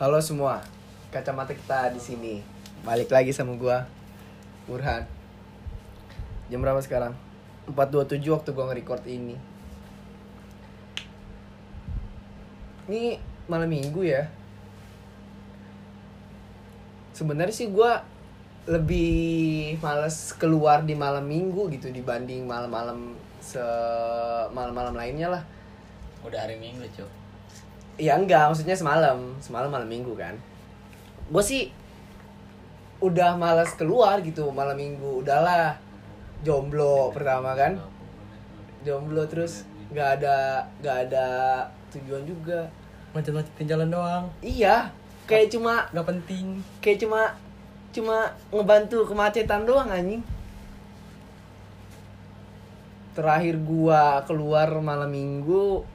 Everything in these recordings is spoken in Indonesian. Halo semua, kacamata kita di sini. Balik lagi sama gua, Burhan. Jam berapa sekarang? 4.27 waktu gua nge-record ini. Ini malam minggu ya. Sebenarnya sih gua lebih males keluar di malam minggu gitu dibanding malam-malam se malam-malam lainnya lah. Udah hari Minggu, Cuk. Ya enggak, maksudnya semalam, semalam malam minggu kan. Gue sih udah malas keluar gitu malam minggu, udahlah jomblo pertama kan, jomblo terus nggak ada nggak ada tujuan juga. macet-macetin jalan doang Iya, kayak cuma nggak penting kayak cuma cuma ngebantu kemacetan doang anjing. Terakhir gua keluar malam minggu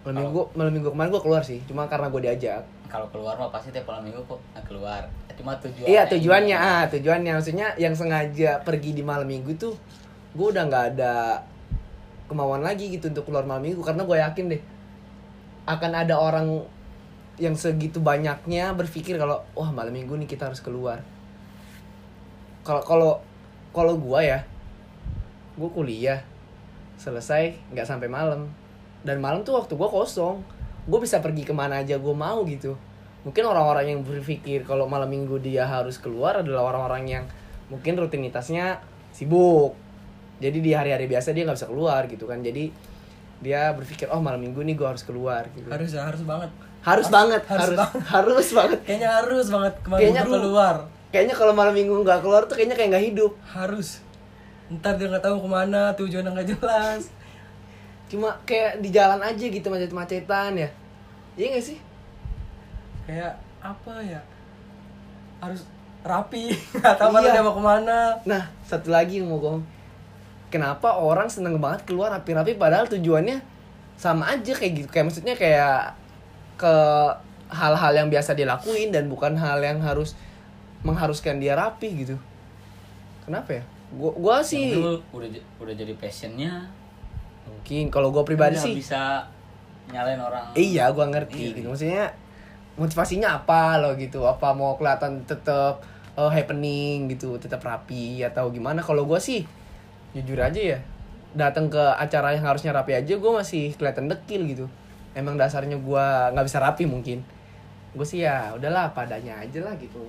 malam Kalau- minggu malam minggu kemarin gua keluar sih, cuma karena gua diajak. Kalau keluar mah pasti tiap malam Minggu kok nggak keluar. Eh, Cuma tujuannya. Iya tujuannya ini. ah tujuannya maksudnya yang sengaja pergi di malam minggu tuh gue udah nggak ada kemauan lagi gitu untuk keluar malam minggu karena gue yakin deh akan ada orang yang segitu banyaknya berpikir kalau wah malam minggu nih kita harus keluar kalau kalau kalau gue ya gue kuliah selesai nggak sampai malam dan malam tuh waktu gue kosong gue bisa pergi kemana aja gue mau gitu mungkin orang-orang yang berpikir kalau malam minggu dia harus keluar adalah orang-orang yang mungkin rutinitasnya sibuk jadi di hari-hari biasa dia nggak bisa keluar gitu kan jadi dia berpikir oh malam minggu nih gue harus keluar gitu harus, harus ya harus banget banget harus harus banget. harus banget kayaknya harus banget kemarin Kayaknya baru lu- keluar kayaknya kalau malam minggu nggak keluar tuh kayaknya kayak nggak hidup harus ntar dia nggak tahu kemana tujuannya nggak jelas cuma kayak di jalan aja gitu macet-macetan ya iya gak sih kayak apa ya harus rapi nggak tahu mana Iya. dia mau kemana nah satu lagi yang mau gue kenapa orang seneng banget keluar rapi-rapi padahal tujuannya sama aja kayak gitu kayak maksudnya kayak ke hal-hal yang biasa dilakuin dan bukan hal yang harus mengharuskan dia rapi gitu kenapa ya gua gua sih Yang dulu udah j- udah jadi passionnya. mungkin kalau gua pribadi Udah sih bisa nyalain orang. Iya, gua ngerti. gitu. Maksudnya motivasinya apa lo gitu? Apa mau kelihatan tetap eh, happening gitu, tetap rapi atau gimana? Kalau gua sih jujur aja ya, datang ke acara yang harusnya rapi aja gua masih kelihatan dekil gitu. Emang dasarnya gua nggak bisa rapi mungkin. Gue sih ya udahlah padanya aja lah gitu.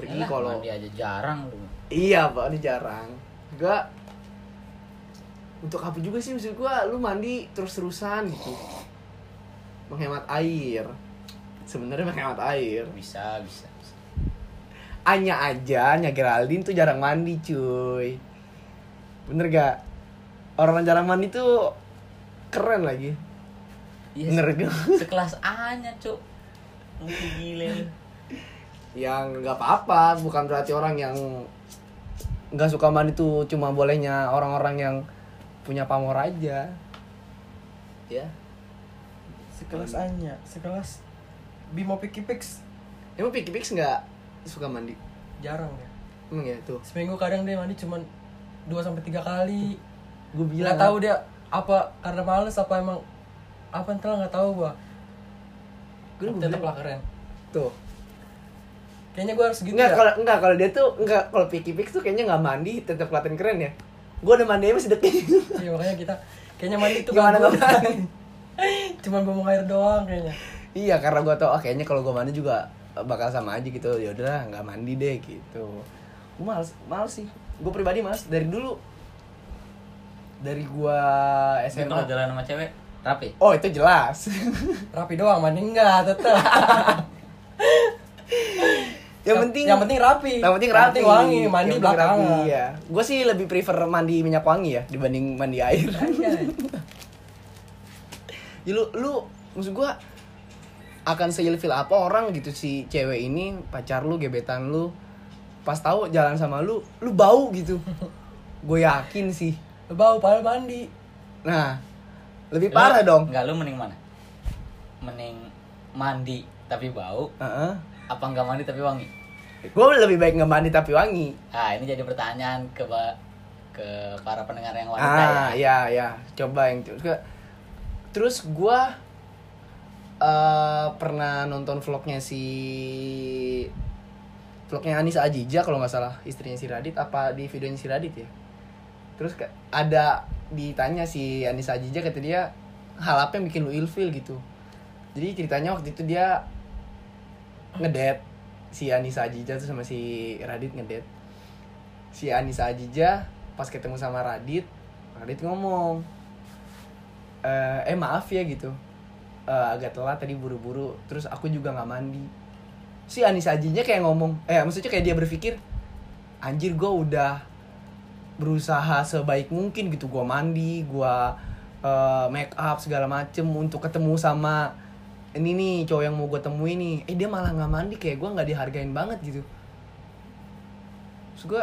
Pergi Yalah, iya, kalau mandi aja jarang lu. Iya, Pak, ini jarang. Juga untuk apa juga sih maksud gua lu mandi terus-terusan gitu. Menghemat air. Sebenarnya menghemat air. Bisa, bisa. bisa. Anya aja, Anya Geraldine tuh jarang mandi, cuy. Bener gak? Orang yang jarang mandi tuh keren lagi. Iya, Bener se- gak? Sekelas A-nya, Cuk. Mungkin gile. lu. yang nggak apa-apa bukan berarti orang yang nggak suka mandi tuh cuma bolehnya orang-orang yang punya pamor aja ya sekelas Anya sekelas Bimo Pikipix emang Piki Pix nggak suka mandi jarang ya emang ya tuh seminggu kadang dia mandi cuman dua sampai tiga kali gue bilang nggak tahu dia apa karena males apa emang apa entar nggak tahu gua gue tetap lah keren tuh kayaknya gua harus gitu enggak ya. kalau enggak kalau dia tuh enggak kalau Piki Pix tuh kayaknya nggak mandi tetap kelihatan keren ya gue udah mandi aja masih dekil Iya makanya kita kayaknya mandi tuh Gimana gangguan. nggak Cuman buang air doang kayaknya. iya karena gue tau ah, kayaknya kalau gue mandi juga eh, bakal sama aja gitu ya udahlah nggak mandi deh gitu gue males males sih gue pribadi males dari dulu dari gue Tapi Kalau SMA jalan sama cewek rapi. oh itu jelas Rapi doang mandi enggak tetap. yang penting yang penting rapi. yang penting rapi wangi, mandi Yang penting belakangan. rapi, iya gue sih lebih prefer mandi minyak wangi ya dibanding mandi air Anjay. Ya, lu lu maksud gua akan seilfil apa orang gitu si cewek ini pacar lu gebetan lu pas tahu jalan sama lu lu bau gitu gue yakin sih Bau padahal mandi. nah lebih parah dong Enggak, lu mending mana? Mending mandi tapi bau Heeh. apa enggak mandi tapi wangi? gue lebih baik nggak mandi tapi wangi Ah, ini jadi pertanyaan ke ba- ke para pendengar yang wanita ah ya. ya ya coba yang terus gua eh, pernah nonton vlognya si vlognya Anissa Ajija kalau nggak salah istrinya si Radit apa di videonya si Radit ya terus ke- ada ditanya si Anissa Ajija kata dia hal apa yang bikin lu ilfil gitu jadi ceritanya waktu itu dia ngedet si Anissa Ajija tuh sama si Radit ngedet si Anissa Ajija pas ketemu sama Radit Radit ngomong "Eh, eh maaf ya gitu Eh, agak telat tadi buru-buru terus aku juga nggak mandi si Anissa Ajinya kayak ngomong eh maksudnya kayak dia berpikir anjir gue udah berusaha sebaik mungkin gitu gue mandi gue eh, make up segala macem untuk ketemu sama ini nih cowok yang mau gue temuin nih eh dia malah nggak mandi kayak gue nggak dihargain banget gitu terus gue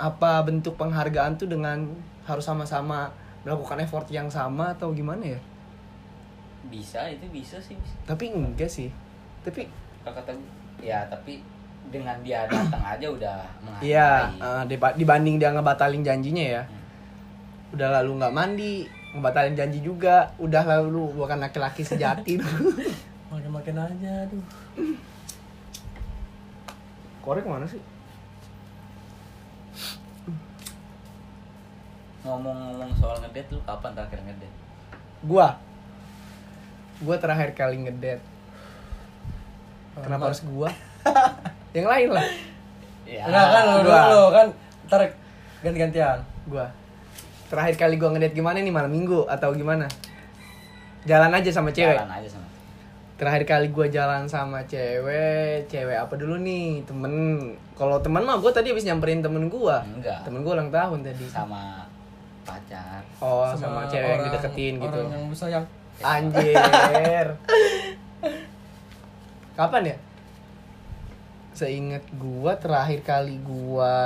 apa bentuk penghargaan tuh dengan harus sama-sama melakukan effort yang sama atau gimana ya bisa itu bisa sih bisa. tapi enggak sih tapi kalau kata gue, ya tapi dengan dia datang aja udah menghargai Iya, eh, diba- dibanding dia ngebatalin janjinya ya. Udah lalu nggak mandi, ngebatalin janji juga. Udah lalu bukan laki-laki sejati. Makin-makin aja, aduh. Korek mana sih? ngomong-ngomong soal ngedate lu kapan terakhir ngedate Gua. Gua terakhir kali ngedet. Kenapa harus gua? Yang lain lah. Iya. ya Enggak kan lo Dua. dulu kan ntar ganti-gantian. Gua. Terakhir kali gua ngedet gimana nih malam minggu atau gimana? Jalan aja sama cewek. jalan aja sama terakhir kali gue jalan sama cewek cewek apa dulu nih temen kalau temen mah gue tadi habis nyamperin temen gue Enggak. temen gue ulang tahun tadi sama pacar oh sama, cewek yang orang- dideketin gitu Orang yang besar yang anjir kapan ya seingat gue terakhir kali gue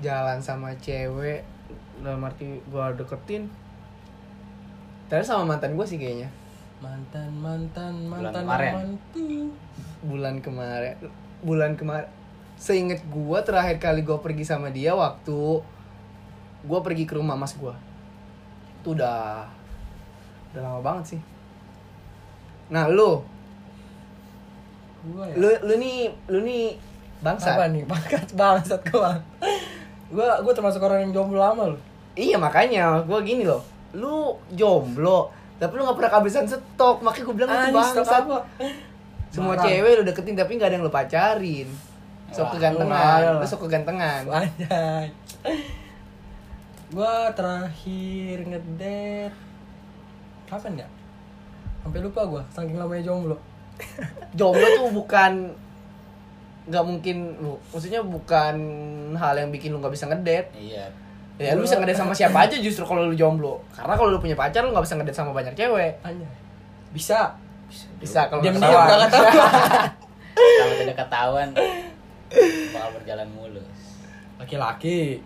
jalan sama cewek dalam arti gue deketin terakhir sama mantan gue sih kayaknya mantan mantan Bulan mantan kemarin. mantu. bulan kemarin bulan kemarin seinget gua terakhir kali gua pergi sama dia waktu gua pergi ke rumah mas gua itu udah udah lama banget sih nah lu Gua ya. lu lu nih lu nih Apa bangsa nih? Bangsat bangsat gua. gua gua termasuk orang yang jomblo lama loh. iya makanya gua gini loh lu jomblo tapi lu gak pernah kehabisan stok makanya gua bilang Ah, lu ini stok bangsat apa? semua Barang. cewek lu deketin tapi gak ada yang lu pacarin Wah, sok lu kegantengan mahal. lu sok kegantengan Anjay. Gua terakhir ngedate kapan ya? Sampai lupa gua, saking lamanya jomblo. jomblo tuh bukan nggak mungkin bu- maksudnya bukan hal yang bikin lu nggak bisa ngedate iya ya lu bisa ngedate sama siapa aja justru kalau lu jomblo karena kalau lu punya pacar lu nggak bisa ngedate sama banyak cewek Anjay. Bisa. bisa bisa kalau Diam-diam nggak ketahuan. nggak ketahuan. kalau tidak ketahuan bakal berjalan mulus Laki-laki.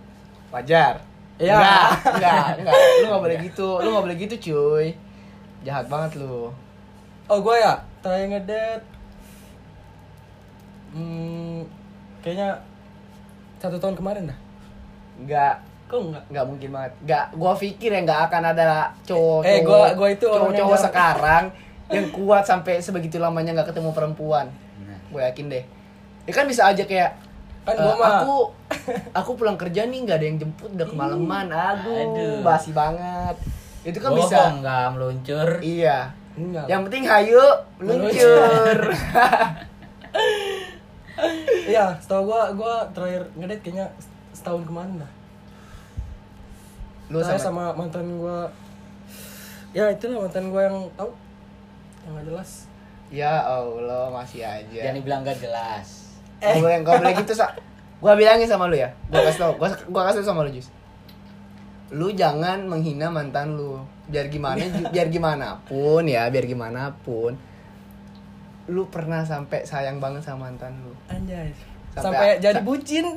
wajar Iya. Nggak, nggak, nggak. lu nggak boleh gitu lu nggak boleh gitu cuy jahat banget lu Oh gue ya terakhir ngedate hmm, kayaknya satu tahun kemarin dah. nggak Kok enggak? nggak mungkin banget nggak gua pikir ya nggak akan ada cowok Eh, gua- gua itu cowok, orang yang cowok jarang- sekarang yang kuat sampai sebegitu lamanya nggak ketemu perempuan nah gue yakin deh ya kan bisa aja kayak eh, Kan gua mah- aku aku pulang kerja nih nggak ada yang jemput udah kemalaman aduh, Aduh. basi banget itu kan bohong bisa nggak meluncur iya Enggak. yang penting hayu meluncur Iya, setahu gue gue terakhir ngedate kayaknya setahun kemarin dah. lu Terakhir sama, sama, mantan gue. Ya itulah mantan gue yang tahu yang gak jelas. ya allah masih jangan aja dibilang gak jelas Gak boleh nggak boleh gitu sa gue bilangin sama lu ya gue kasih tau gue gue kasih tau sama lu jus lu jangan menghina mantan lu biar gimana ju- biar gimana pun ya biar gimana pun lu pernah sampai sayang banget sama mantan lu Anjay. Sampai- Sampai, jadi bucin.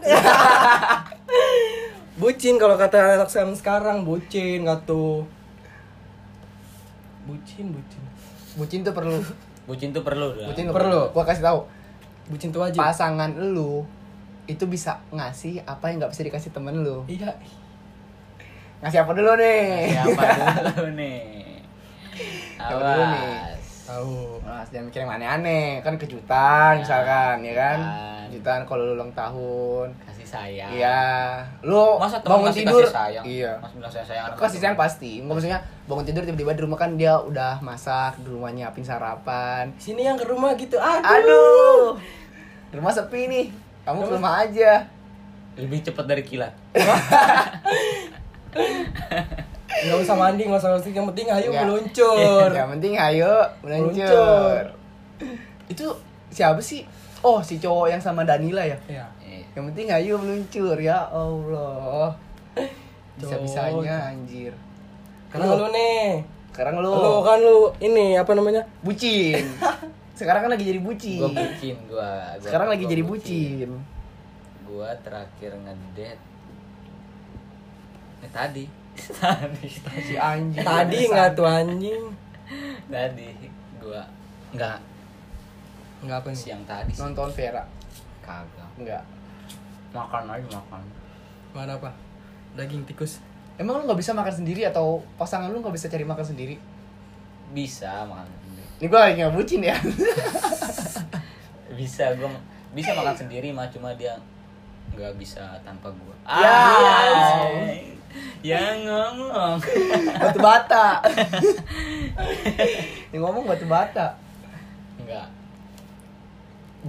bucin kalau kata anak sekarang sekarang bucin nggak tuh. Bucin, bucin. bucin tuh perlu bucin tuh perlu lah bucin tuh Perlu. gua kasih tahu Bucin tuh wajib. pasangan lu itu bisa ngasih apa yang nggak bisa dikasih temen lu Iya. ngasih apa dulu nih siapa dulu nih Coba dulu nih. tahu Mas, jangan mikir yang aneh-aneh, kan kejutan Ya. misalkan, ya kan? Kejutan. Kejutan kalau lu ulang tahun. kasih sayang Iya. Lu masa temen bangun ngasih tidur. kasih sayang Iya. mas bilang saya sayang Kasih sayang pasti. Enggak maksudnya bangun tidur tiba-tiba di rumah kan dia udah masak, di rumah nyiapin sarapan. sini yang ke rumah gitu aduh Aduh. Rumah sepi nih. Kamu ke rumah aja. lebih cepat dari kilat nggak usah mandi nggak usah mandi yang penting ayo Nggak. meluncur Yang penting ayo meluncur. Meluncur. Itu siapa sih? Oh, si cowok yang sama Danila ya. ya Iya. Yang penting ayo meluncur ya Allah. Bisa-bisanya anjir. karena lu nih Sekarang lu lu kan lu ini apa namanya bucin. Sekarang kan lagi jadi bucin. gua bucin gua, gua Sekarang lagi gua jadi bucin. gua terakhir ngedate eh, tadi tadi Si anjir. tadi nggak tuh anjing tadi gua nggak nggak apa nih siang tadi sih nonton Vera. kagak Enggak. makan aja makan mana apa daging tikus Emang lu nggak bisa makan sendiri atau pasangan lu nggak bisa cari makan sendiri? bisa makan sendiri Ini gua lagi nggak bucin ya. bisa gua bisa makan sendiri mah cuma dia nggak bisa tanpa gua Ya. Anjay. yang ngomong batu bata. Yang ngomong batu bata. nggak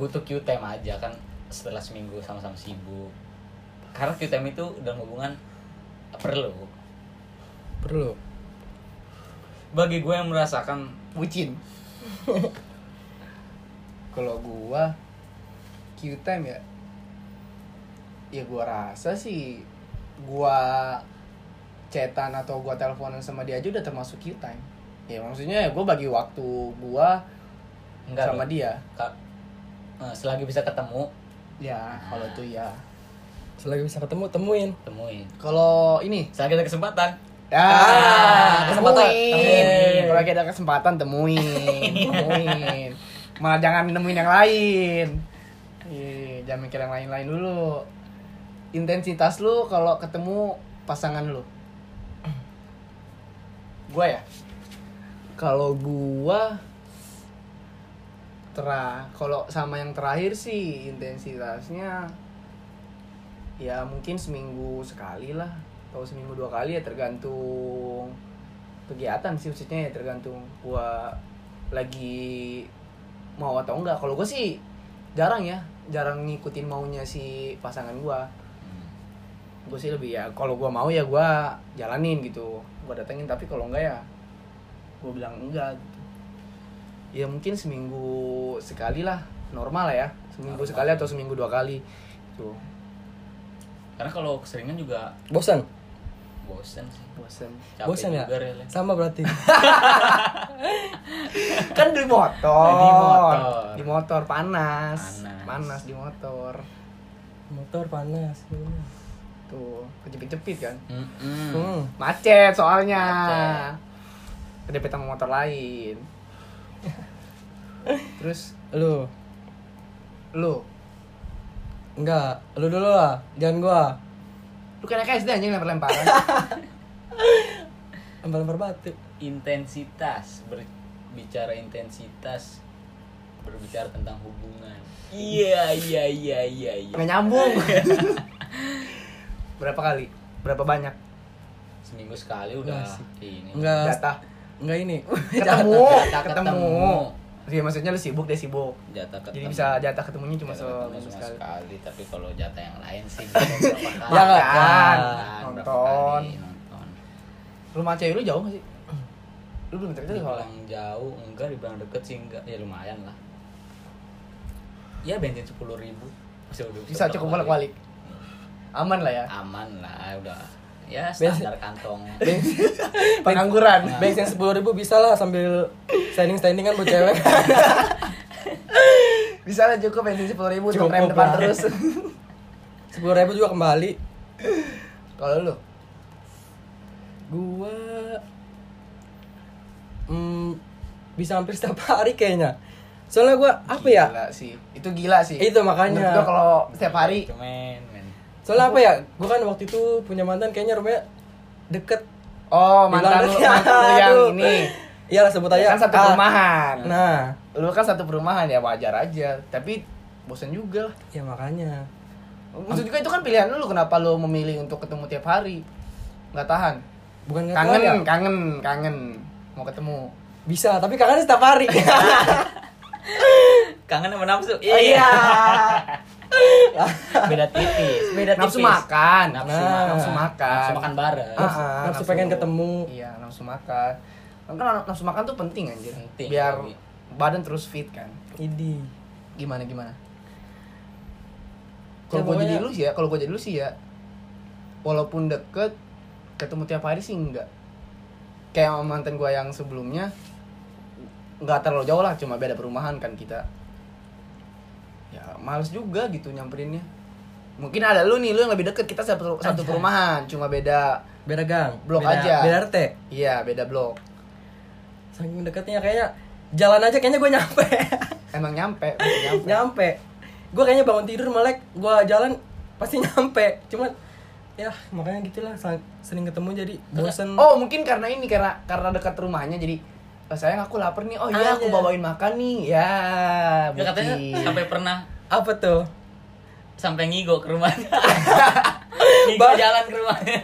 butuh Q time aja kan setelah seminggu sama-sama sibuk karena Q time itu dalam hubungan perlu perlu bagi gue yang merasakan bucin kalau gua Q time ya ya gua rasa sih gua cetan atau gua teleponan sama dia aja udah termasuk Q time ya maksudnya ya gua bagi waktu gua enggak sama loh. dia Ka- eh, selagi bisa ketemu ya kalau itu ya selagi bisa ketemu temuin temuin kalau ini selagi ada kesempatan ya Ah, kesempatan kesempatan. temuin Temuin. kalau lagi ada kesempatan temuin temuin malah jangan nemuin yang lain Iya, jangan mikir yang lain-lain dulu intensitas lu kalau ketemu pasangan lu gua ya kalau gua tera kalau sama yang terakhir sih intensitasnya ya mungkin seminggu sekali lah atau seminggu dua kali ya tergantung kegiatan sih maksudnya ya tergantung gua lagi mau atau enggak kalau gua sih jarang ya jarang ngikutin maunya si pasangan gua gue sih lebih ya kalau gua mau ya gua jalanin gitu gua datengin tapi kalau enggak ya gue bilang enggak gitu. ya mungkin seminggu sekali lah normal lah ya seminggu Normal. sekali atau seminggu dua kali tuh karena kalau keseringan juga bosan bosen sih bosen capek bosan ya juga rela. sama berarti kan di motor Nah, Di motor. Di motor, panas Panas. panas di motor motor panas tuh kejepit-jepit kan Mm-mm. hmm. macet soalnya Macet. kedepet sama motor lain terus lu lu enggak lu dulu lah jangan gua lu kan SD anjing lempar-lemparan lempar-lempar batu intensitas berbicara intensitas berbicara tentang hubungan iya iya iya iya iya nggak nyambung berapa kali berapa banyak seminggu sekali Iya udah Masih. ini enggak jatah enggak ini ketemu Eh, jatah ketemu ketemu. Iya maksudnya lu sibuk deh sibuk jatah ketemu jadi bisa jatah ketemunya cuma Jatah ketemu seminggu cuma sekali sekali. tapi kalau jatah yang lain sih berapa kali Ya, nggak? Makan, Makan, Kan. berapa nonton kali nonton rumah cewek lu jauh gak sih lu belum cerita soalnya dibilang jauh enggak dibilang deket sih enggak ya lumayan lah ya bensin sepuluh ribu bisa udah bisa cukup bolak balik aman lah ya aman lah udah ya Bensin- standar kantong pengangguran bensin sepuluh ribu bisa lah sambil standing standing kan buat cewek bisa lah cukup bensin sepuluh ribu untuk Cukup rem depan lah. terus sepuluh ribu juga kembali kalau lu gua hmm, bisa hampir setiap hari kayaknya soalnya gua apa ya gila sih itu gila sih Itu makanya. Menurut gua kalau setiap hari cuman men soalnya apa ya gua kan waktu itu punya mantan kayaknya rumahnya deket oh mantan lu Bilang- mantan lu yang Aduh. ini iyalah sebut Ya aja kan satu A. perumahan nah lu kan satu perumahan ya wajar aja tapi bosan juga lah ya makanya maksud juga itu kan pilihan lu kenapa lu memilih untuk ketemu tiap hari nggak tahan bukan nggak kangen tahu ya. kangen kangen mau ketemu bisa tapi kangen setiap hari kangen sama Oh, nafsu iya Ah, beda tipis beda nafsu tipis. makan nafsu, Nah, makan. nafsu makan nafsu makan bareng Ah, ah, Nafsu pengen ketemu. iya nafsu makan kan nafsu makan tuh penting anjir Penting. biar badan terus fit kan Idi. gimana gimana Ya, kalau gue jadi pokoknya- lu sih ya kalau gue jadi lu sih ya walaupun deket ketemu tiap hari sih enggak kayak sama mantan gue yang sebelumnya nggak terlalu jauh lah cuma beda perumahan kan kita ya males juga gitu nyamperinnya mungkin ada lu nih lu yang lebih deket kita satu, satu perumahan cuma beda beda gang Blok beda, aja. beda RT iya beda blok saking deketnya kayaknya jalan aja kayaknya gue nyampe emang nyampe masih nyampe nyampe gue kayaknya bangun tidur melek gue jalan pasti nyampe cuman ya makanya gitulah sang- sering ketemu jadi bosen Oh mungkin karena ini karena karena dekat rumahnya jadi "Oh, sayang aku lapar nih oh iya aku Ada. bawain makan nih ya Ah, Ya, katanya bucin. sampai pernah apa tuh sampai ngigo ke rumahnya ngigo Ba- jalan ke rumahnya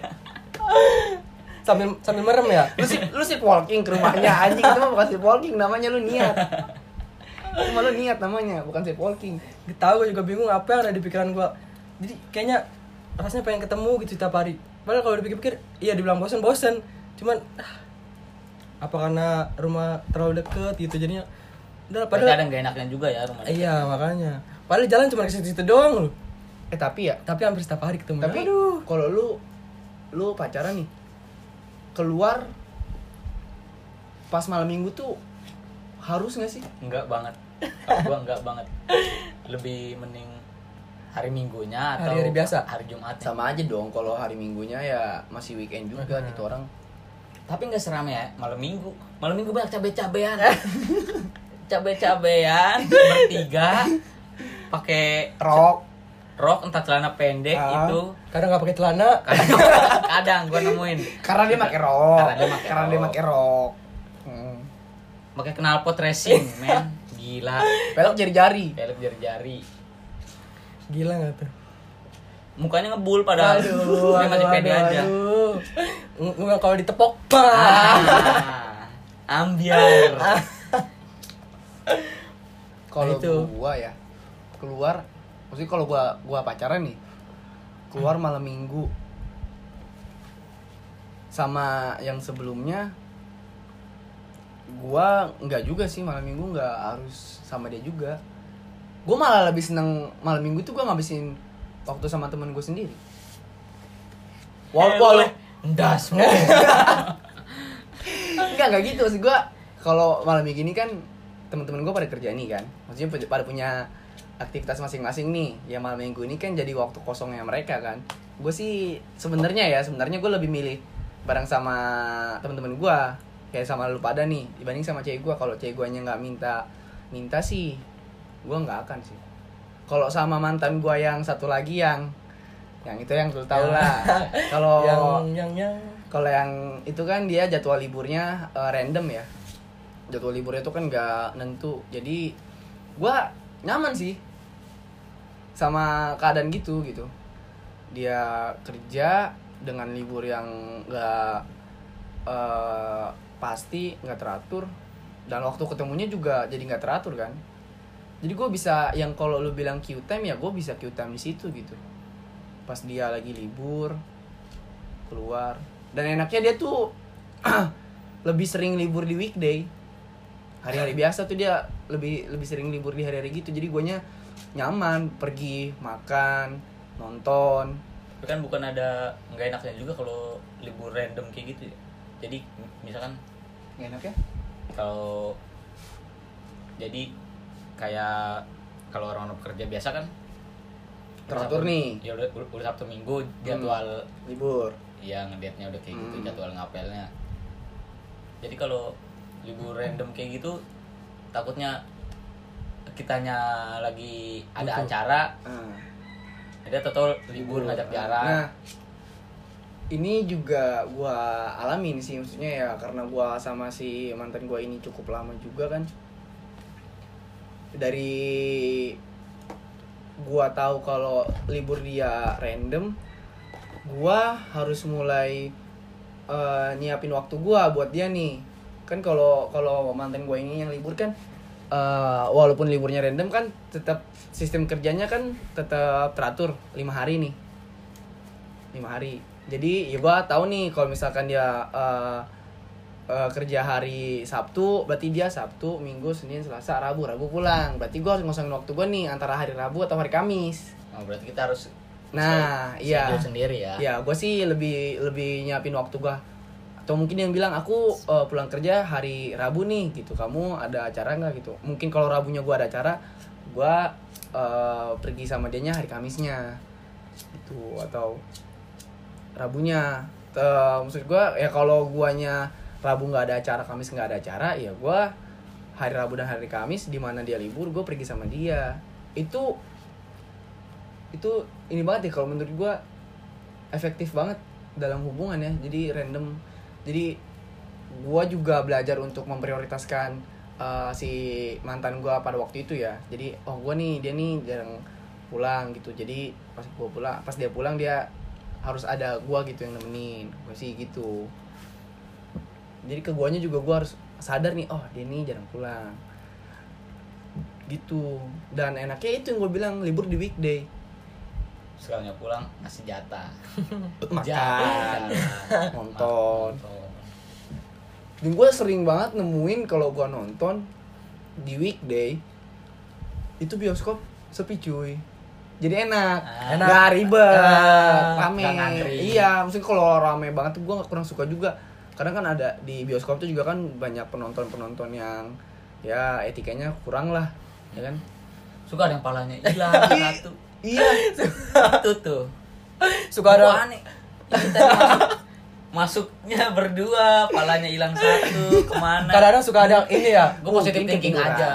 sambil sambil merem ya lu sih lu sih walking ke rumahnya anjing itu mah bukan sih walking namanya lu niat cuma lu niat namanya bukan sih walking Gak tau gue juga bingung apa yang ada di pikiran gue Jadi kayaknya rasanya pengen ketemu gitu tiap hari Padahal kalau dipikir-pikir iya dibilang bosen bosen Cuman ah, apa karena rumah terlalu deket gitu jadinya Udah lah, padahal kadang gak enaknya juga ya rumahnya Iya makanya Padahal jalan cuma ke situ doang loh eh tapi ya Tapi hampir setiap hari ketemu tapi Aduh. kalau lu lu pacaran nih keluar pas malam minggu tuh harus nggak sih enggak banget Kalau gua enggak banget lebih mending hari minggunya atau Hari-hari biasa? hari jumat sama aja dong kalau hari minggunya ya masih weekend juga gitu orang tapi nggak seram ya malam minggu malam minggu banyak cabe cabean cabe cabean bertiga pakai rok rok entah celana pendek Ah. itu Kadang gak pakai celana kadang, kadang gua nemuin Karena dia pakai rok. Karena dia pakai Karena dia rok. pakai rok. Hmm. pakai knalpot racing men gila Pelok jari-jari. pelek jari jari Gila gak tuh mukanya ngebul padahal dia masih pede aja aduh. Ng- ng- Kalau ditepok bah. ah, ambiar Ah. Eh, Kalau Nah, itu. gua ya keluar, maksudnya kalau gua gua pacaran nih keluar malam minggu sama yang sebelumnya gua nggak juga sih malam minggu nggak harus sama dia juga gua malah lebih seneng malam minggu tuh gua ngabisin waktu sama temen gue sendiri Eh, Wal- wal- Endas Enggak, enggak gitu. Maksud gue, kalau malam minggu ini kan teman-teman gue pada kerja nih kan. Maksudnya pada- pada punya aktivitas masing-masing nih. Ya malam minggu ini kan jadi waktu kosongnya mereka kan. Gue sih sebenarnya ya, sebenarnya gue lebih milih bareng sama teman-teman gue kayak sama lu pada nih dibanding sama cewek gue kalau cewek gue nggak minta minta sih gue nggak akan sih kalau sama mantan gue yang satu lagi yang yang itu yang lu tau lah kalau Yang yang yang kalau yang itu kan dia jadwal liburnya eh, random ya. Jadwal liburnya itu kan nggak nentu. Jadi gua nyaman sih sama keadaan gitu gitu. Dia kerja dengan libur yang nggak eh, pasti, nggak teratur dan waktu ketemunya juga jadi nggak teratur kan. Jadi gue bisa yang kalau lu bilang Q time ya gue bisa Q time di situ gitu. Pas dia lagi libur, keluar dan enaknya dia tuh lebih sering libur di weekday hari-hari biasa tuh dia lebih lebih sering libur di hari-hari gitu jadi guanya nyaman pergi makan nonton Tapi kan bukan ada nggak enaknya juga kalau libur random kayak gitu ya. Jadi misalkan enak ya kalau jadi kayak kalau orang-orang pekerja biasa kan Teratur Sabtu- nih. Ya udah, udah udah Sabtu Minggu jadwal libur yang ngedate-nya udah kayak gitu, Hmm. jadwal ngapelnya. Jadi kalau libur random kayak gitu takutnya kitanya lagi ada acara, Ah. jadi atau libur ngajak jalan. nah ini juga gua alamin sih maksudnya ya karena gua sama si mantan gua ini cukup lama juga kan dari gua tahu kalau libur dia random gua harus mulai eh, nyiapin waktu gua buat dia nih kan kalau kalau mantan gua ini yang libur kan eh, walaupun liburnya random kan tetap sistem kerjanya kan tetap teratur lima hari nih lima hari jadi ya gua tahu nih kalau misalkan dia eh, eh, kerja hari Sabtu berarti dia Sabtu Minggu Senin Selasa Rabu Rabu pulang berarti gua harus ngosongin waktu gua nih antara hari Rabu atau hari Kamis Oh, berarti kita harus Nah, schedule- iya. schedule sendiri ya. ya gua sih lebih lebih nyiapin waktu gua atau mungkin yang bilang aku eh, pulang kerja hari Rabu nih gitu kamu ada acara nggak gitu mungkin kalau Rabunya gua ada acara gua eh, pergi sama dia hari Kamisnya gitu atau Rabunya Te- maksud gua ya kalau guanya Rabu nggak ada acara Kamis nggak ada acara ya gua hari Rabu dan hari Kamis di mana dia libur gue pergi sama dia itu itu ini banget ya kalau menurut gua efektif banget dalam hubungan ya jadi random jadi gua juga belajar untuk memprioritaskan uh, si mantan gua pada waktu itu ya jadi oh gua nih dia nih jarang pulang gitu jadi pas gua pulang pas dia pulang dia harus ada gua gitu yang nemenin gua sih gitu jadi ke guanya juga gua harus sadar nih oh dia nih jarang pulang gitu dan enaknya itu yang gue bilang libur di weekday Sekalinya pulang ngasih jatah. makan Jalan. nonton Oh. Dan gue sering banget nemuin kalau gue nonton di weekday itu bioskop sepi cuy. Jadi enak. Ah, Enak. Gak ribet. Ah, rame. gak ngantri. Iya, maksudnya kalau rame banget tuh gue kurang suka juga. Karena kan ada di bioskop tuh juga kan banyak penonton-penonton yang ya etikanya kurang lah, ya kan? Suka ada yang palanya hilang satu. Iya. Itu tuh. Suka ada- Wah, nih, ini tadi masuk- masuknya berdua, palanya hilang satu. Kemana? kadang-kadang suka ada yang ini ya gue positif Mungkin thinking ketiduran. aja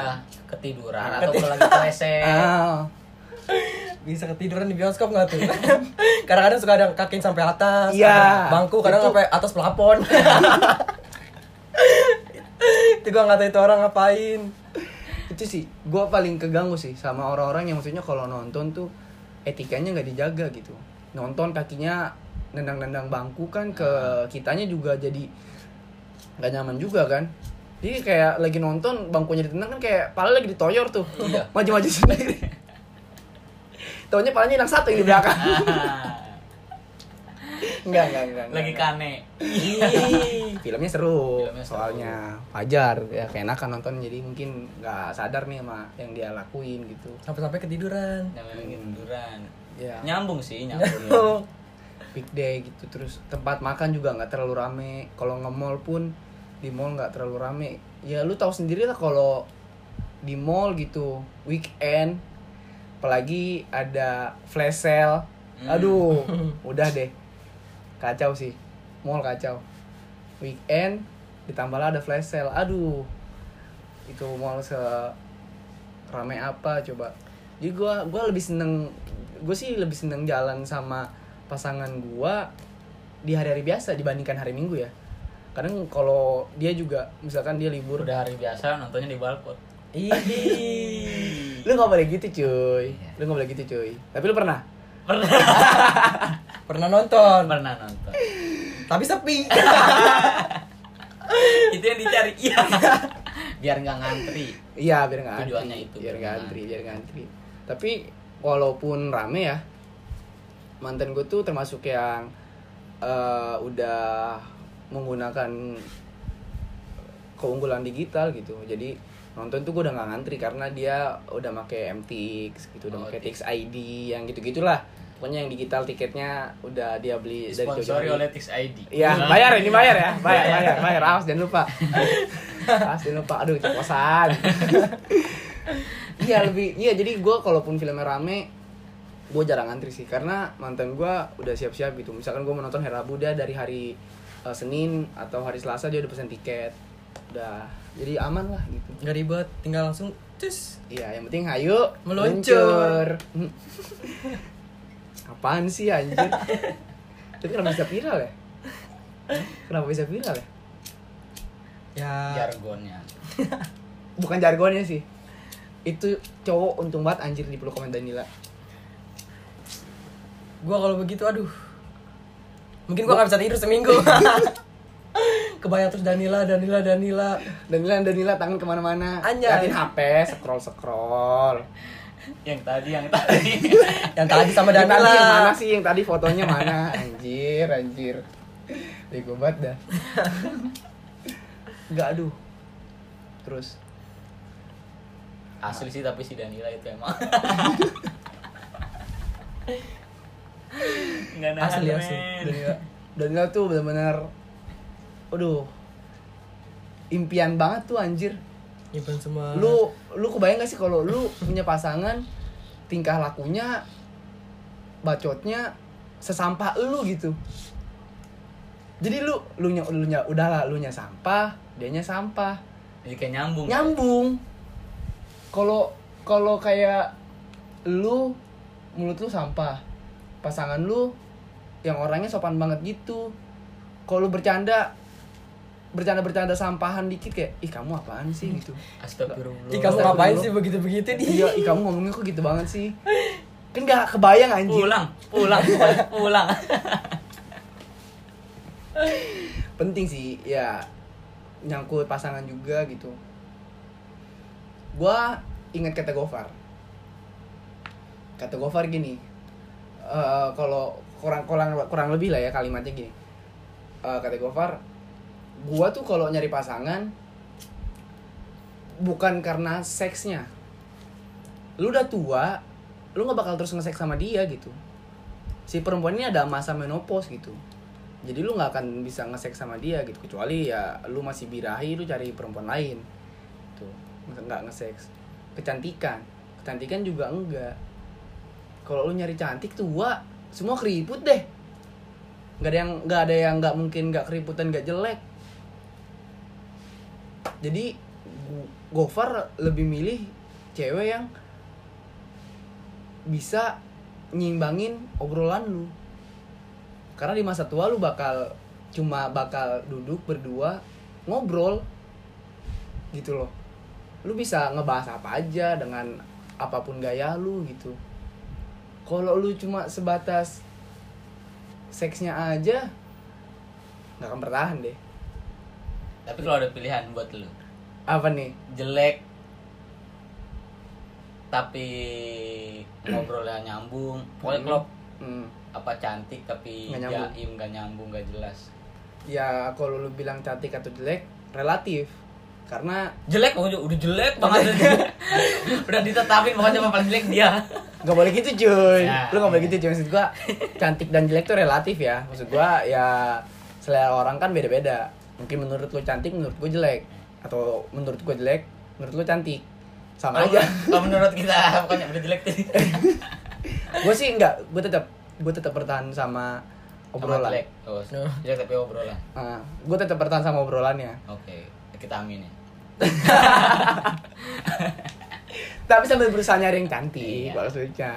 ketiduran atau gue lagi keleset Ah. bisa ketiduran di bioskop nggak tuh kadang-kadang suka ada yang kaki sampai atas Iya. ada bangku kadang Itu- sampai atas pelapon itu gua nggak tahu itu orang ngapain itu sih gue paling keganggu sih sama orang-orang yang maksudnya kalau nonton tuh etikanya nggak dijaga gitu nonton kakinya nendang-nendang bangku kan ke Ah. kitanya juga jadi nggak nyaman juga kan jadi kayak lagi nonton bangkunya ditendang kan kayak pala lagi ditoyor tuh Iya. maju-maju sendiri taunya palanya hilang satu yang di belakang enggak enggak enggak lagi kane Iya. filmnya seru Filmnya seru. soalnya wajar ya keenakan nonton jadi mungkin nggak sadar nih sama yang dia lakuin gitu sampai-sampai ketiduran namanya ketiduran ya nyambung sih nyambung iya. Oh, weekday gitu terus tempat makan juga nggak terlalu rame kalau nge mall pun di mall nggak terlalu rame ya lu tahu sendiri lah kalau di mall gitu weekend apalagi ada flash sale Hmm. aduh udah deh kacau sih mall kacau weekend ditambahlah ada flash sale aduh itu mall se rame apa coba jadi gue gua lebih seneng gue sih lebih seneng jalan sama pasangan gue di hari-hari biasa dibandingkan hari minggu ya kadang kalau dia juga misalkan dia libur udah hari biasa nontonnya di balkon Iya. Ih. lu nggak boleh gitu cuy lu nggak boleh gitu cuy tapi lu pernah pernah pernah nonton pernah nonton tapi sepi itu yang dicari iya biar nggak ngantri iya biar nggak antri. Tujuannya itu, biar biar nggak nggak antri biar nggak antri tapi walaupun rame ya mantan gue tuh termasuk yang eh, udah menggunakan keunggulan digital gitu jadi nonton tuh gue udah nggak ngantri karena dia udah make MTX gitu udah Oh, make TX ID yang gitu gitulah pokoknya yang digital tiketnya udah dia beli dari jauh-jauh sponsori hari. oleh Tix ID Iya, bayar ini bayar ya. Bayar, bayar, bayar. Awas jangan lupa. Awas jangan lupa. Aduh, keceplosan. Iya, lebih iya jadi gua kalaupun filmnya rame gue jarang antri sih karena mantan gua udah siap-siap gitu misalkan gue menonton hari Rabu dia dari hari eh, Senin atau hari Selasa dia udah pesan tiket udah jadi aman lah gitu nggak ribet tinggal langsung cus Iya, yang penting hayu Meluncur. meluncur. Apaan sih anjir? Tapi kenapa bisa viral ya? Kenapa bisa viral ya? ya jargonnya Bukan jargonnya sih. Itu cowok untung banget anjir di peluk sama Danila. gua kalau begitu aduh mungkin gua nggak bisa tidur seminggu kebayang terus Danila Danila Danila Danila Danila tangan kemana-mana. Anjay. Liatin HP, scroll scroll. yang tadi yang tadi yang tadi sama Yang tadi yang mana Danila sih yang tadi fotonya mana? Anjir, anjir. Bego banget dah. Enggak aduh. Terus asli sih tapi si Danila itu emang nggak nahan asli men. Iya. asli Iya. Danila Danila tuh benar-benar aduh. Impian banget tuh anjir. nyimpen semua lu lu kebayang gak sih kalau lu punya pasangan tingkah lakunya bacotnya sesampah lu gitu jadi lu lu nya lu nya udahlah lu nya sampah dianya sampah jadi kayak nyambung nyambung kalau kalau kayak lu mulut lu sampah pasangan lu yang orangnya sopan banget gitu kalau lu bercanda bercanda bercanda sampahan dikit kayak ih kamu apaan sih gitu astagfirullah Ih kamu Astagfirullah. ngapain sih begitu-begitu di Iya, ih, kamu ngomongnya kok gitu banget sih? Kan gak kebayang anjing. pulang pulang pulang, pulang Penting sih, ya nyangkut pasangan juga gitu. Gua ingat kata Gofar. Kata Gofar gini. eh, kalau kurang kurang kurang lebih lah ya kalimatnya gini. Eh, kata Gofar, gua tuh kalau nyari pasangan bukan karena seksnya. Lu udah tua, lu nggak bakal terus ngesek sama dia gitu. si perempuan ini ada masa menopause gitu jadi lu nggak akan bisa ngesek sama dia gitu kecuali ya lu masih birahi lu cari perempuan lain tuh nggak ngeseks kecantikan kecantikan juga enggak kalau lu nyari cantik tua semua keriput deh nggak ada yang nggak ada yang nggak mungkin nggak keriputan nggak jelek jadi Gu- Gofar lebih milih cewek yang bisa nyimbangin obrolan lu karena di masa tua lu bakal cuma bakal duduk berdua ngobrol gitu loh lu bisa ngebahas apa aja dengan apapun gaya lu gitu kalau lu cuma sebatas seksnya aja nggak akan bertahan deh tapi kalau ada pilihan buat lu apa nih jelek tapi ngobrolnya nyambung pokoknya kalau hmm. apa cantik tapi Nggak nyambung. jaim gak nyambung gak jelas ya kalau lu bilang cantik atau jelek relatif karena jelek pokoknya udah jelek banget udah ditetapin pokoknya yang paling jelek dia Gak boleh gitu cuy Ya. Lu gak boleh gitu cuy Maksud gua cantik dan jelek tuh relatif ya Maksud gua ya selera orang kan beda-beda Mungkin menurut lu cantik menurut gua jelek Atau menurut gua jelek menurut lu cantik Sama kalau aja kalau menurut kita pokoknya udah jelek tuh Gua sih enggak Gua tetap Gua tetap bertahan sama Sama obrolan jelek oh, jelek tapi obrolan Ah, Gua tetap bertahan sama ya. obrolannya oke kita ya. aminin Tapi sambil berusaha nyari yang cantik Iya. maksudnya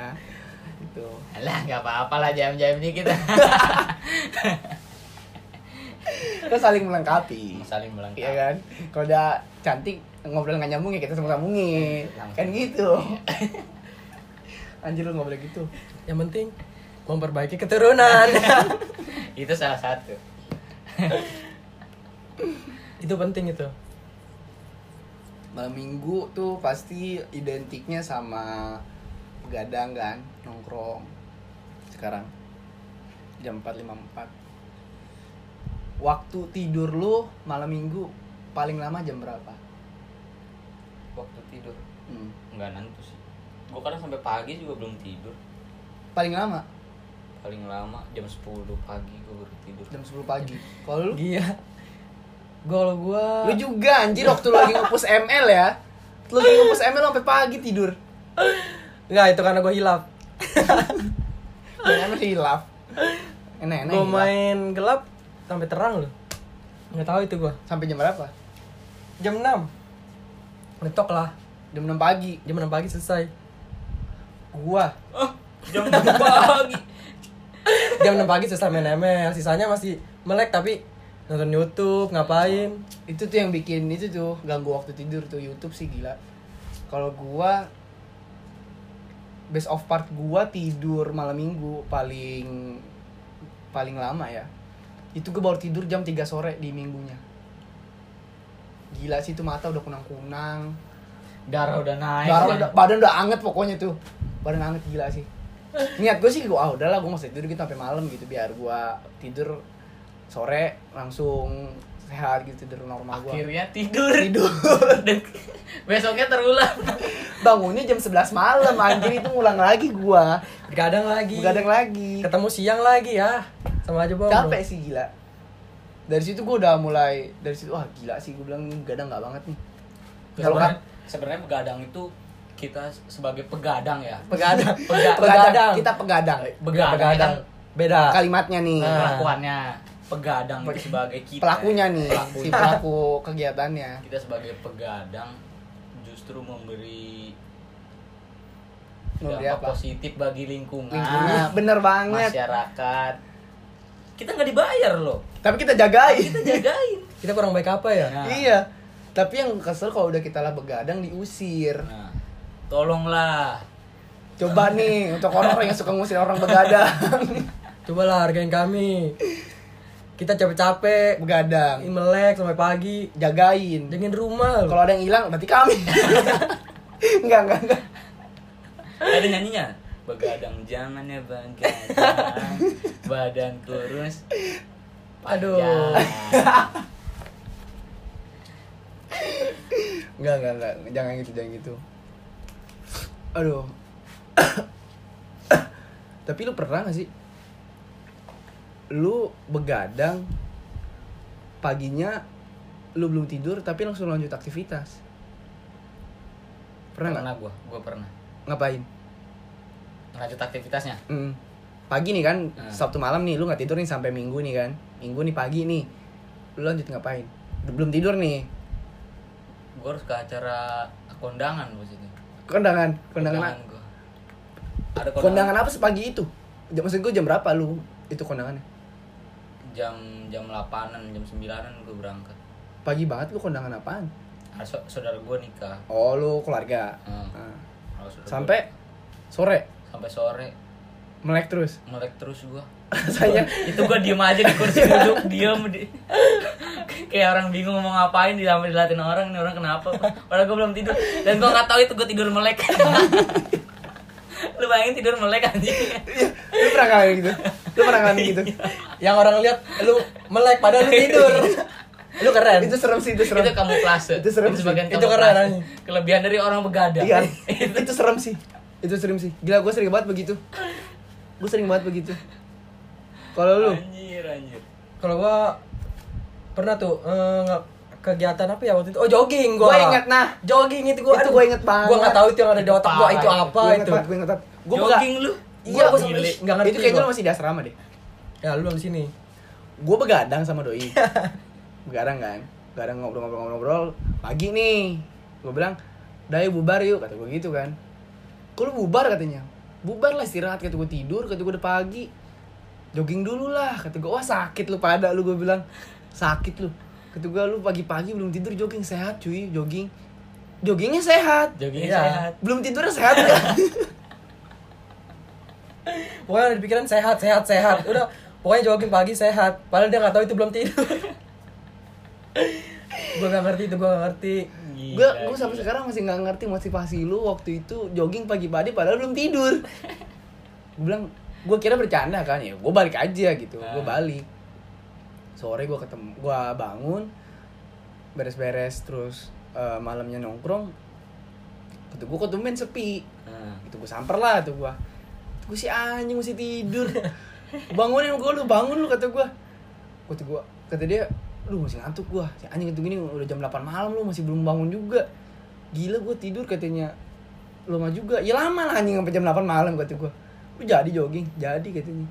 Gitu alah nggak apa-apa lah jam-jam ini kita Terus saling melengkapi saling melengkapi Iya kan? Kalau udah cantik ngobrol nggak nyambung ya kita sama sambungin. Langsung. Kan gitu. Anjir lu nggak boleh gitu. yang penting memperbaiki keturunan itu salah satu itu penting itu Malam minggu tuh pasti identiknya sama begadang kan, nongkrong. Sekarang jam 4.54. Waktu tidur lu malam minggu paling lama jam berapa? waktu tidur Hmm. nggak nentu sih gue kadang sampai pagi juga belum tidur Paling lama paling lama jam 10 pagi gue baru tidur jam 10 pagi. Kalau lu? Iya. Gua kalau gua Lu juga anjir waktu lu lagi nge-push ML ya. Lu lagi nge-push ML sampai pagi tidur. enggak itu karena gua hilaf. Jangan hilaf. Enak-enak Gua hilaf. main gelap sampai terang loh. Enggak tahu itu gua. Sampai jam berapa? Jam 6. Ngetok lah. Jam 6 pagi. Jam 6 pagi selesai. Gua jam 6 pagi jam 6 pagi selesai main ML sisanya masih melek tapi nonton YouTube ngapain itu tuh yang bikin itu tuh ganggu waktu tidur tuh YouTube sih gila kalau gua best of part gua tidur malam minggu paling paling lama ya itu gua baru tidur jam 3 sore di minggunya gila sih itu mata udah kunang kunang Darah udah naik. darah kan? udah- badan udah anget pokoknya tuh badan anget gila sih niat gue sih gue ah udahlah gue masih tidur gitu sampai malam gitu biar gua tidur sore langsung sehat gitu tidur normal gua Akhirnya tidur. Tidur. Dan besoknya terulang. bangunnya jam 11 malam anjir itu ngulang lagi gua begadang lagi begadang lagi ketemu siang lagi ya sama aja bohong capek sih gila dari situ gua udah mulai dari situ wah gila sih gua bilang ini begadang nggak banget nih kalau kan Sebenarnya- sebenarnya begadang itu kita sebagai pegadang ya. begadang Pega- begadang kita pegadang Begadang. begadang Kan beda kalimatnya nih Nah. Kelakuannya pegadang itu sebagai kita. ya. pelakunya nih si Pelakunya. pelaku kegiatannya Kita sebagai pegadang justru memberi Memberi dampak apa? positif bagi lingkungan, lingkungan Ah, bener banget masyarakat. Kita nggak dibayar loh. tapi kita jagain Kita jagain. kita kurang baik apa ya Nah. iya tapi yang kesel kalau udah kita lah begadang diusir Nah, tolonglah. coba nih untuk orang-orang yang suka ngusir orang begadang cobalah hargain kami kita capek-capek begadang melek sampai pagi jagain jagain rumah loh. Kalau ada yang hilang berarti kami. enggak, enggak, enggak. Ada nyanyinya. Begadang jangan ya begadang. Badan kurus. Ya. Aduh. panjang. Enggak, enggak, enggak. Jangan gitu, jangan gitu. Aduh. Tapi lu pernah gak sih? Lu begadang paginya lu belum tidur tapi langsung lanjut aktivitas. Pernah Pernah nggak? gua, gua pernah. Ngapain? Lanjut aktivitasnya. Mm. Pagi nih kan, Hmm. Sabtu malam nih lu nggak tidur nih sampai Minggu nih kan. Minggu nih pagi nih. Lu lanjut ngapain? Belum tidur nih. Gua harus ke acara kondangan gua sini. Kondangan, kondangan. gua. Ada kondangan, Kondangan apa sepagi itu? Jam- Maksud gue jam berapa lu itu kondangannya? jam jam 8-an, jam 9-an gua berangkat. Pagi banget lu kondangan apaan? Ada so- saudara gua nikah. Oh lu keluarga. Hmm. Nah, Ada saudara Sampai sore gua- sampai sore melek terus. melek terus gua. Rasanya itu gua diem aja di kursi duduk diem di... kayak orang bingung mau ngapain di sampai dilatin orang ini orang kenapa padahal gua belum tidur dan gua nggak tahu itu gua tidur melek lu bayangin tidur melek anjing lu pernah ngalamin gitu. Lu pernah ngalamin gitu. Iya. yang orang lihat lu melek padahal lu tidur lu keren Itu serem sih, itu serem. itu kamuflase Itu serem sih. sebagian Itu keren, kamuflase. anjing. kelebihan dari orang begadang Iya, itu serem sih. Itu serem sih. Gila gue sering banget begitu. Gue sering banget begitu. Kalau lu anjir anjir kalau gua pernah tuh eh, nggak- kegiatan apa ya waktu itu oh jogging gua Gua ingat, nah. jogging itu gua Itu aduh, gua ingat banget. gua nggak tahu itu yang ada di Itu otak gua parah itu itu. apa itu Gue inget Gue jogging lu Iya, Gua gua sampai gile. nggak ngerti Itu kayaknya gua. lu masih di asrama deh. ya lu di sini gue begadang sama doi begadang kan begadang ngobrol-ngobrol-ngobrol pagi nih gue bilang dayo bubar yuk kata gue gitu kan kalau bubar katanya bubar lah istirahat kata gue tidur kata gue udah pagi jogging dulu lah kata gue wah sakit lu pada lu gue bilang sakit lu kata gue lu pagi-pagi belum tidur jogging sehat cuy jogging joggingnya sehat jogging Iya. sehat belum tidurnya sehat kan? pokoknya ada di pikiran sehat sehat sehat udah pokoknya jogging pagi sehat padahal dia nggak tahu itu belum tidur gua nggak ngerti itu gua nggak ngerti gue gue sampai sekarang masih nggak ngerti motivasi lu waktu itu jogging pagi-pagi padahal belum tidur gue bilang gue kira bercanda kan ya gue balik aja gitu gue Ah. balik sore gue ketemu gue bangun beres-beres terus eh, malamnya nongkrong itu gue ketemuin sepi Nah, itu gue samper lah tuh gue gue si anjing masih tidur bangunin gue lu bangun lu kata gue kata gue kata dia lu masih ngantuk gue si anjing itu gini udah jam 8 malam lu masih belum bangun juga gila gue tidur katanya lama juga ya lama lah anjing sampai jam 8 malam kata gue lu jadi jogging jadi katanya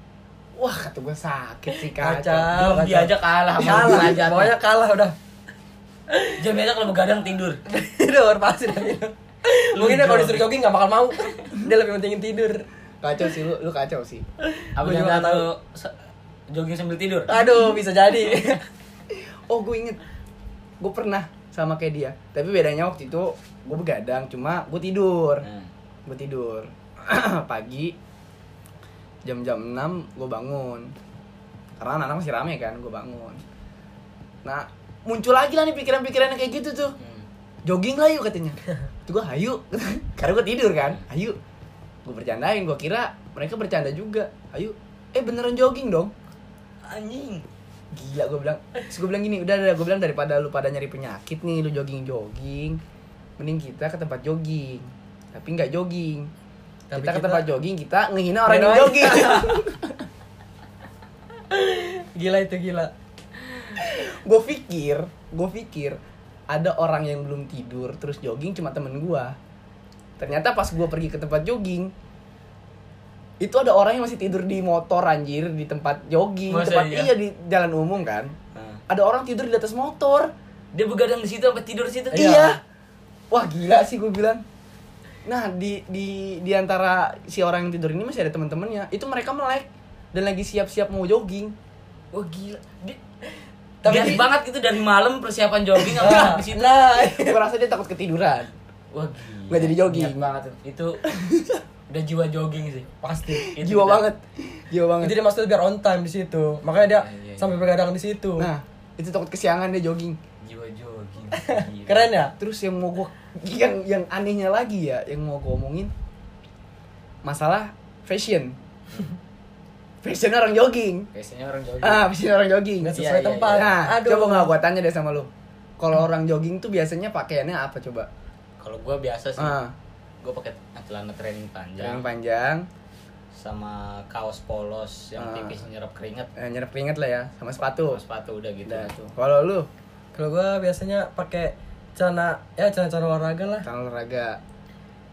wah kata gue sakit sih kacau Kacau. belum kacau. diajak Ah, kalah sama kalah Iya, aja Nah, pokoknya kalah udah jam diajak kalau begadang tidur tidur pasti udah tidur mungkin dia kalau disuruh jogging nggak bakal mau dia lebih pentingin tidur kacau sih lu lu kacau sih Apa Gua juga jangan nggak tahu. lu se- jogging sambil tidur? Aduh, bisa jadi. oh gue inget gue pernah sama kayak dia tapi bedanya waktu itu gue begadang cuma gue tidur Nah, gue tidur pagi jam-jam 6 gue bangun karena anak-anak masih rame kan gue bangun nah muncul lagi lah nih pikiran-pikiran yang kayak gitu tuh hmm. jogging lah yuk katanya tuh gue hayu karena gue tidur kan hayu gue bercandain gue kira mereka bercanda juga hayu eh beneran jogging dong Anjing. gila gue bilang terus gue bilang gini udah udah gue bilang daripada lu pada nyari penyakit nih lu jogging jogging mending kita ke tempat jogging tapi nggak jogging kita, Tapi ke kita- tempat jogging kita ngehina orang yang Ngehina orang. jogging gila itu gila. gue pikir gue pikir ada orang yang belum tidur terus jogging cuma temen gue ternyata pas gue pergi ke tempat jogging itu ada orang yang masih tidur di motor anjir di tempat jogging Masa tempat iya? iya di jalan umum kan Nah. ada orang tidur di atas motor Dia begadang di situ apa tidur di situ? Iya. Wah gila sih gue bilang. Nah di di di antara si orang yang tidur ini masih ada teman-temannya. Itu mereka melek dan lagi siap-siap mau jogging. Wah gila. Dia, Tapi- Gas banget gitu dari malam persiapan jogging Iya. Nah, apa Ah, di situ. nah. Gue rasa dia takut ketiduran. Wah gila. Nggak jadi jogging. Iya, Niat banget tuh. Itu udah jiwa jogging sih. Pasti. Jiwa udah. banget, jiwa banget. Itu dia nah, maksudnya biar on time di situ. Makanya dia Iya, iya, iya. sampai begadang di situ. Nah itu takut kesiangan dia jogging. Jiwa jogging. Gila. Keren ya? Terus yang mau gue yang yang anehnya lagi ya yang mau gue omongin masalah fashion. Fashion orang jogging. Biasanya orang jogging. Ah, bikin orang jogging. Nggak sesuai tempat. Nah, Aduh. coba nggak gua tanya deh sama lu. Kalau orang jogging tuh biasanya pakaiannya apa coba? Kalau gua biasa sih. Ah, Iya. Gue pakai celana training yang panjang panjang, sama kaos polos yang Ah. tipis nyerap keringat. eh, nyerap keringat lah ya, sama sepatu. Sama sepatu udah gitu. Udah. Kalau lu, Kalau gua biasanya pakai celana ya celana-celana olahraga lah. tangan olahraga,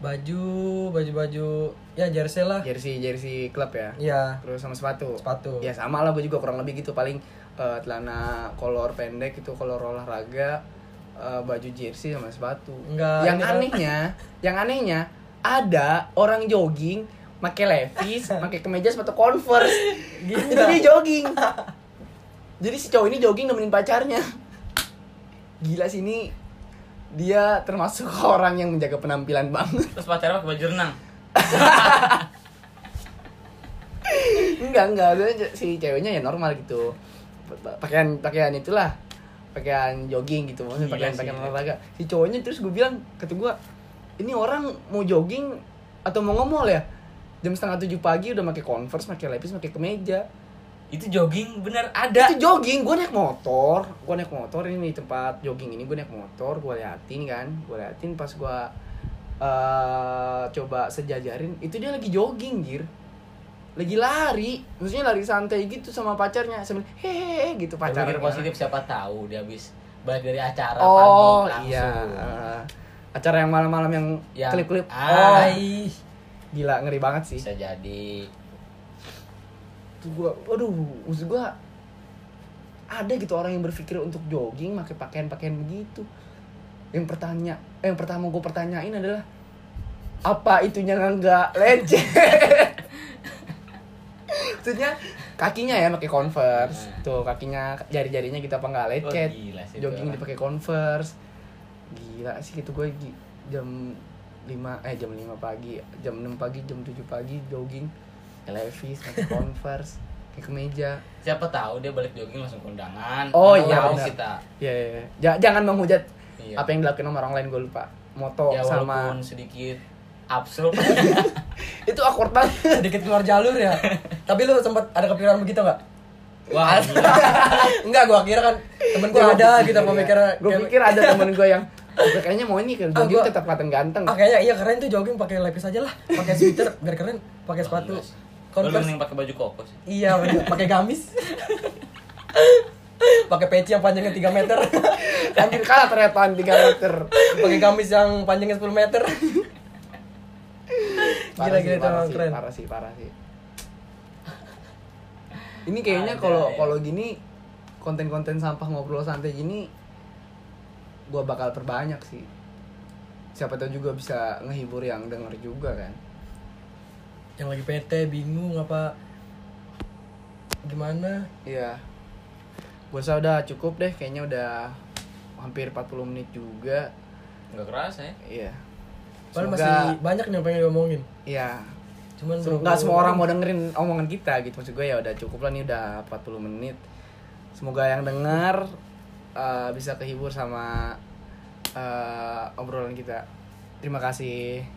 Baju, baju-baju ya jersey lah. jersey jersey klub ya. Iya. Terus sama sepatu. Sepatu. Ya sama lah gue juga kurang lebih gitu paling eh, celana kolor pendek itu kolor olahraga, eh, baju jersey sama sepatu. Nggak, Yang ini kan- anehnya, yang anehnya ada orang jogging pakai Levi's, pakai kemeja sepatu Converse. Gila. Itu dia jogging. Jadi si cowok ini jogging nemenin pacarnya. Gila sih ini dia termasuk orang yang menjaga penampilan banget. Terus pacarnya pakai baju renang. enggak enggak gue ce- si ceweknya ya normal gitu Pa- pa- pakaian pakaian itulah pakaian jogging gitu maksudnya Gila pakaian sih, pakaian ya. olahraga si cowoknya terus gue bilang kata gue ini orang mau jogging atau mau ngomol ya jam setengah tujuh pagi udah pakai converse pakai levis pakai kemeja Itu jogging bener ada. itu jogging gue naik motor gue naik motor ini di tempat jogging ini gue naik motor gue liatin kan gue liatin pas gue eh coba sejajarin itu dia lagi jogging jir lagi lari maksudnya lari santai gitu sama pacarnya sambil hehehe gitu Gua pacarnya pikir positif siapa tahu dia habis balik dari acara oh panggung iya langsung. Eh, acara yang malam-malam yang Yang- klip-klip oh Ah. Ai. gila ngeri banget sih Bisa jadi Tuh gua aduh maksud gua ada gitu orang yang berpikir untuk jogging pakai pakaian-pakaian begitu yang pertanya eh, yang pertama gue pertanyain adalah apa itunya nggak lecet maksudnya kakinya ya pakai converse Nah. tuh kakinya jari-jarinya gitu apa nggak lecet Wah, gila sih itu jogging orang. dipakai converse gila sih gitu gue jam 5 eh jam 5 pagi jam 6 pagi jam 7 pagi jogging pakai Levi's pakai converse pakai kemeja siapa tahu dia balik jogging langsung kondangan. Oh, Nggak iya, tahu benar. kita. ya ya, ya. Ja- jangan menghujat Iya. apa yang dilakukan sama orang lain gue lupa moto ya Oh, sama walaupun sedikit absurd itu awkward banget Sedikit keluar jalur ya. Tapi lu sempat ada kepikiran begitu nggak? wah gila. Enggak, gua kira kan temen gua ada gitu pemikiran. gue pikir ada temen gue yang "Gue kayaknya mau ini kalau Ah, jogging gua- tetap kelihatan ganteng Ah kayaknya iya keren tuh jogging pakai levis aja lah, pakai sweater biar keren, pakai Wah, sepatu. Iya, gila sih. Gua lebih Converse. mending pakai baju koko sih. Iya, bener. pakai gamis. pakai peci yang panjangnya 3 meter. anjir kalah ternyata 3 meter pakai gamis yang panjangnya 10 meter. parah Gila sih gila itu parah emang sih keren. parah sih parah sih ini kayaknya Ada, kalau ya. kalau gini konten-konten sampah ngobrol santai gini gue bakal perbanyak sih siapa tahu juga bisa ngehibur yang denger juga kan yang lagi PT bingung apa gimana Iya. Gue rasa udah cukup deh, kayaknya udah hampir 40 menit juga. Nggak kerasa ya. Iya. Padahal Semoga- masih banyak nih yang pengen diomongin Iya. cuman Enggak semua orang mau dengerin omongan kita gitu maksud gue ya udah cukup lah nih udah 40 menit. Semoga yang dengar eh, bisa kehibur sama eh, obrolan kita. Terima kasih.